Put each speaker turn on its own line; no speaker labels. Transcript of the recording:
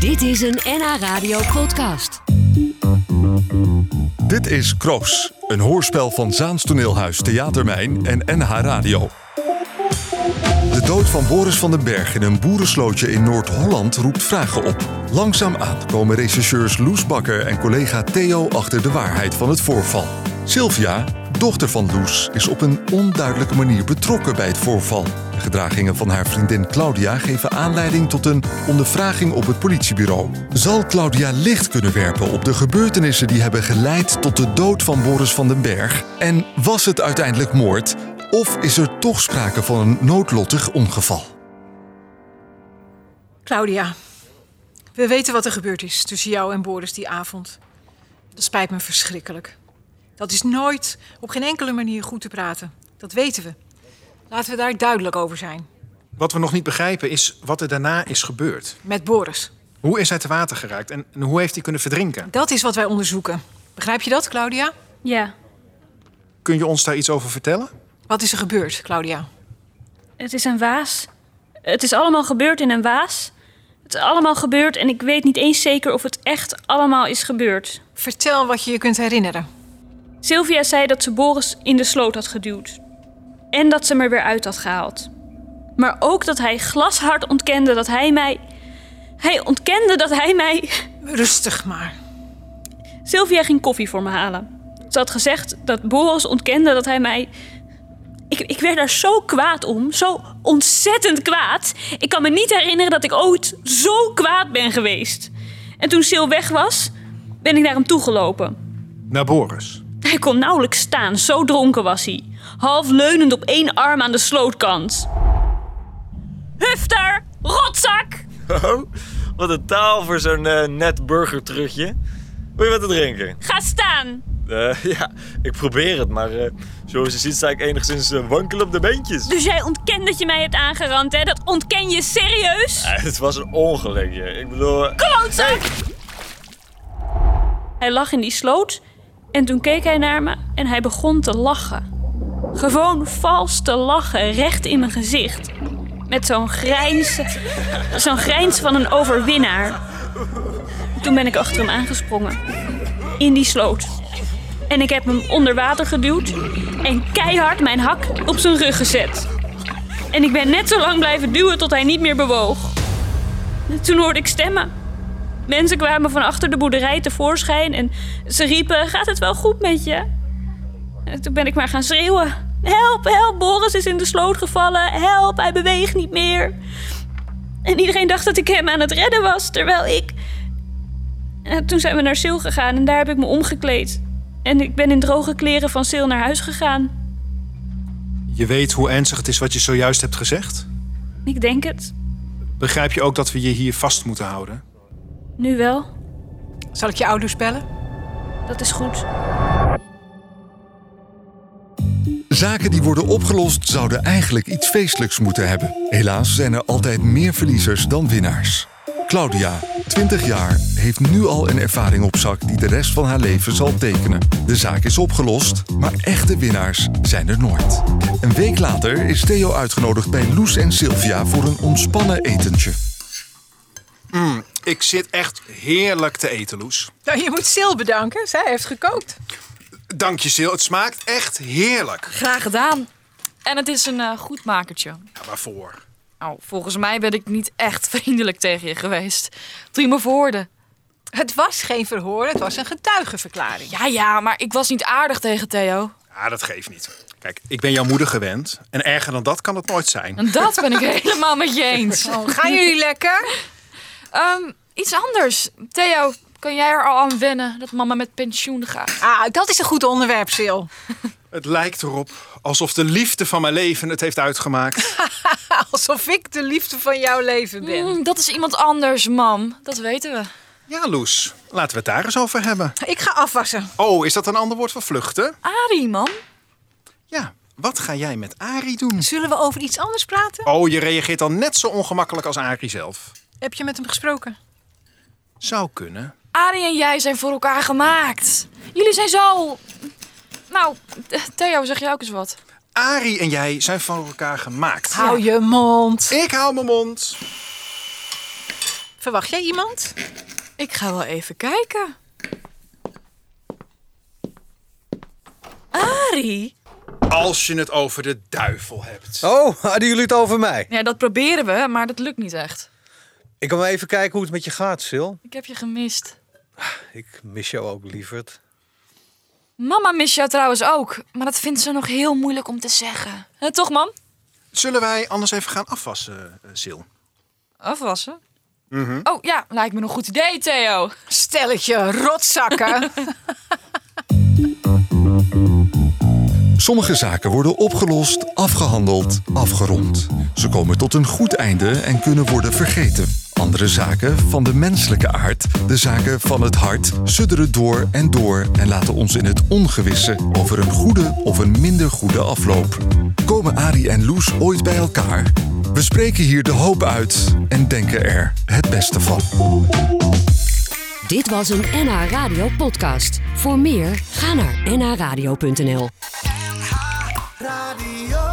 Dit is een NH Radio podcast.
Dit is Kroos, een hoorspel van Zaans Toneelhuis, Theatermijn en NH Radio. De dood van Boris van den Berg in een boerenslootje in Noord-Holland roept vragen op. Langzaamaan komen rechercheurs Loes Bakker en collega Theo achter de waarheid van het voorval. Sylvia, dochter van Loes, is op een onduidelijke manier betrokken bij het voorval. De gedragingen van haar vriendin Claudia geven aanleiding tot een ondervraging op het politiebureau. Zal Claudia licht kunnen werpen op de gebeurtenissen die hebben geleid tot de dood van Boris van den Berg? En was het uiteindelijk moord? Of is er toch sprake van een noodlottig ongeval?
Claudia, we weten wat er gebeurd is tussen jou en Boris die avond. Dat spijt me verschrikkelijk. Dat is nooit op geen enkele manier goed te praten. Dat weten we. Laten we daar duidelijk over zijn.
Wat we nog niet begrijpen is wat er daarna is gebeurd.
Met Boris.
Hoe is hij te water geraakt en, en hoe heeft hij kunnen verdrinken?
Dat is wat wij onderzoeken. Begrijp je dat, Claudia?
Ja,
Kun je ons daar iets over vertellen?
Wat is er gebeurd, Claudia?
het is een waas. Het is allemaal gebeurd in een waas. Het is allemaal gebeurd en ik weet niet eens zeker of het echt allemaal is gebeurd.
Vertel wat je je kunt herinneren.
Sylvia zei dat ze Boris in de sloot had geduwd. En dat ze hem er weer uit had gehaald. Maar ook dat hij glashard ontkende dat hij mij. Hij ontkende dat hij mij.
Rustig maar.
Sylvia ging koffie voor me halen. Ze had gezegd dat Boris ontkende dat hij mij. Ik, ik werd daar zo kwaad om, zo ontzettend kwaad. Ik kan me niet herinneren dat ik ooit zo kwaad ben geweest. En toen Sil weg was, ben ik naar hem toegelopen.
Naar Boris.
Hij kon nauwelijks staan, zo dronken was hij. Half leunend op één arm aan de slootkant. Hufter, rotzak!
Oh, wat een taal voor zo'n eh, net burgertrutje. Wil je wat te drinken?
Ga staan!
Eh, ja, ik probeer het, maar eh, zoals je ziet sta ik enigszins eh, wankel op de beentjes.
Dus jij ontkent dat je mij hebt aangerand, hè? Dat ontken je serieus?
Eh, het was een ongelukje. Ik bedoel... eh,
Klootzak! Hij lag in die sloot en toen keek hij naar me en hij begon te lachen. Gewoon vals te lachen, recht in mijn gezicht. Met zo'n grijns, zo'n grijns van een overwinnaar. Toen ben ik achter hem aangesprongen. In die sloot. En ik heb hem onder water geduwd en keihard mijn hak op zijn rug gezet. En ik ben net zo lang blijven duwen tot hij niet meer bewoog. Toen hoorde ik stemmen. Mensen kwamen van achter de boerderij tevoorschijn en ze riepen: Gaat het wel goed met je? En toen ben ik maar gaan schreeuwen: Help, help, Boris is in de sloot gevallen. Help, hij beweegt niet meer. En iedereen dacht dat ik hem aan het redden was, terwijl ik. En toen zijn we naar Sil gegaan en daar heb ik me omgekleed. En ik ben in droge kleren van Sil naar huis gegaan.
Je weet hoe ernstig het is wat je zojuist hebt gezegd?
Ik denk het.
Begrijp je ook dat we je hier vast moeten houden?
Nu wel.
Zal ik je ouders bellen?
Dat is goed.
Zaken die worden opgelost zouden eigenlijk iets feestelijks moeten hebben. Helaas zijn er altijd meer verliezers dan winnaars. Claudia, 20 jaar, heeft nu al een ervaring op zak die de rest van haar leven zal tekenen. De zaak is opgelost, maar echte winnaars zijn er nooit. Een week later is Theo uitgenodigd bij Loes en Sylvia voor een ontspannen etentje.
Ik zit echt heerlijk te eten, Loes.
Nou, je moet Sil bedanken. Zij heeft gekookt.
Dank je, Sil. Het smaakt echt heerlijk.
Graag gedaan. En het is een eh, goed makertje.
Ja, waarvoor?
Nou, volgens mij ben ik niet echt vriendelijk tegen je geweest. Toen je me verhoorde.
Het was geen verhoor, het was een getuigenverklaring.
Ja, ja, maar ik was niet aardig tegen Theo.
Ja, Ah, dat geeft niet. Kijk, ik ben jouw moeder gewend. En erger dan dat kan het nooit zijn.
En dat ben ik helemaal met je eens.
Gaan jullie lekker?
Ehm, iets anders. Theo, kan jij er al aan wennen dat mama met pensioen gaat?
Ah, dat is een goed onderwerp, Sil.
Het lijkt erop alsof de liefde van mijn leven het heeft uitgemaakt.
Alsof ik de liefde van jouw leven ben.
Mm, dat is iemand anders, mam. Dat weten we.
Ja, Loes. Laten we het daar eens over hebben.
Ik ga afwassen.
Oh, is dat een ander woord voor vluchten?
Arie, mam.
Ja, wat ga jij met Arie doen?
Zullen we over iets anders praten?
Oh, je reageert al net zo ongemakkelijk als Arie zelf.
Heb je met hem gesproken?
Zou kunnen.
Arie en jij zijn voor elkaar gemaakt. Jullie zijn zo... Nou, Theo, zeg jij ook eens wat?
Arie en jij zijn van elkaar gemaakt.
Hou je mond.
Ik hou mijn mond.
Verwacht jij iemand?
Ik ga wel even kijken. Ari?
Als je het over de duivel hebt.
Oh, hadden jullie het over mij?
Ja, dat proberen we, maar dat lukt niet echt.
Ik kom even kijken hoe het met je gaat, Sil.
Ik heb je gemist.
Ik mis jou ook, lieverd.
Mama mist jou trouwens ook, maar dat vindt ze nog heel moeilijk om te zeggen. Hè, toch, mam?
Zullen wij anders even gaan afwassen, eh, Sil?
Afwassen? Oh ja, lijkt me een goed idee, Theo.
Stelletje rotzakken.
Sommige zaken worden opgelost, afgehandeld, afgerond. Ze komen tot een goed einde en kunnen worden vergeten. Andere zaken van de menselijke aard, de zaken van het hart, sudderen door en door en laten ons in het ongewisse over een goede of een minder goede afloop. Komen Ari en Loes ooit bij elkaar? We spreken hier de hoop uit en denken er het beste van.
Dit was een NH Radio podcast. Voor meer, ga naar nhradio.nl.
Radio.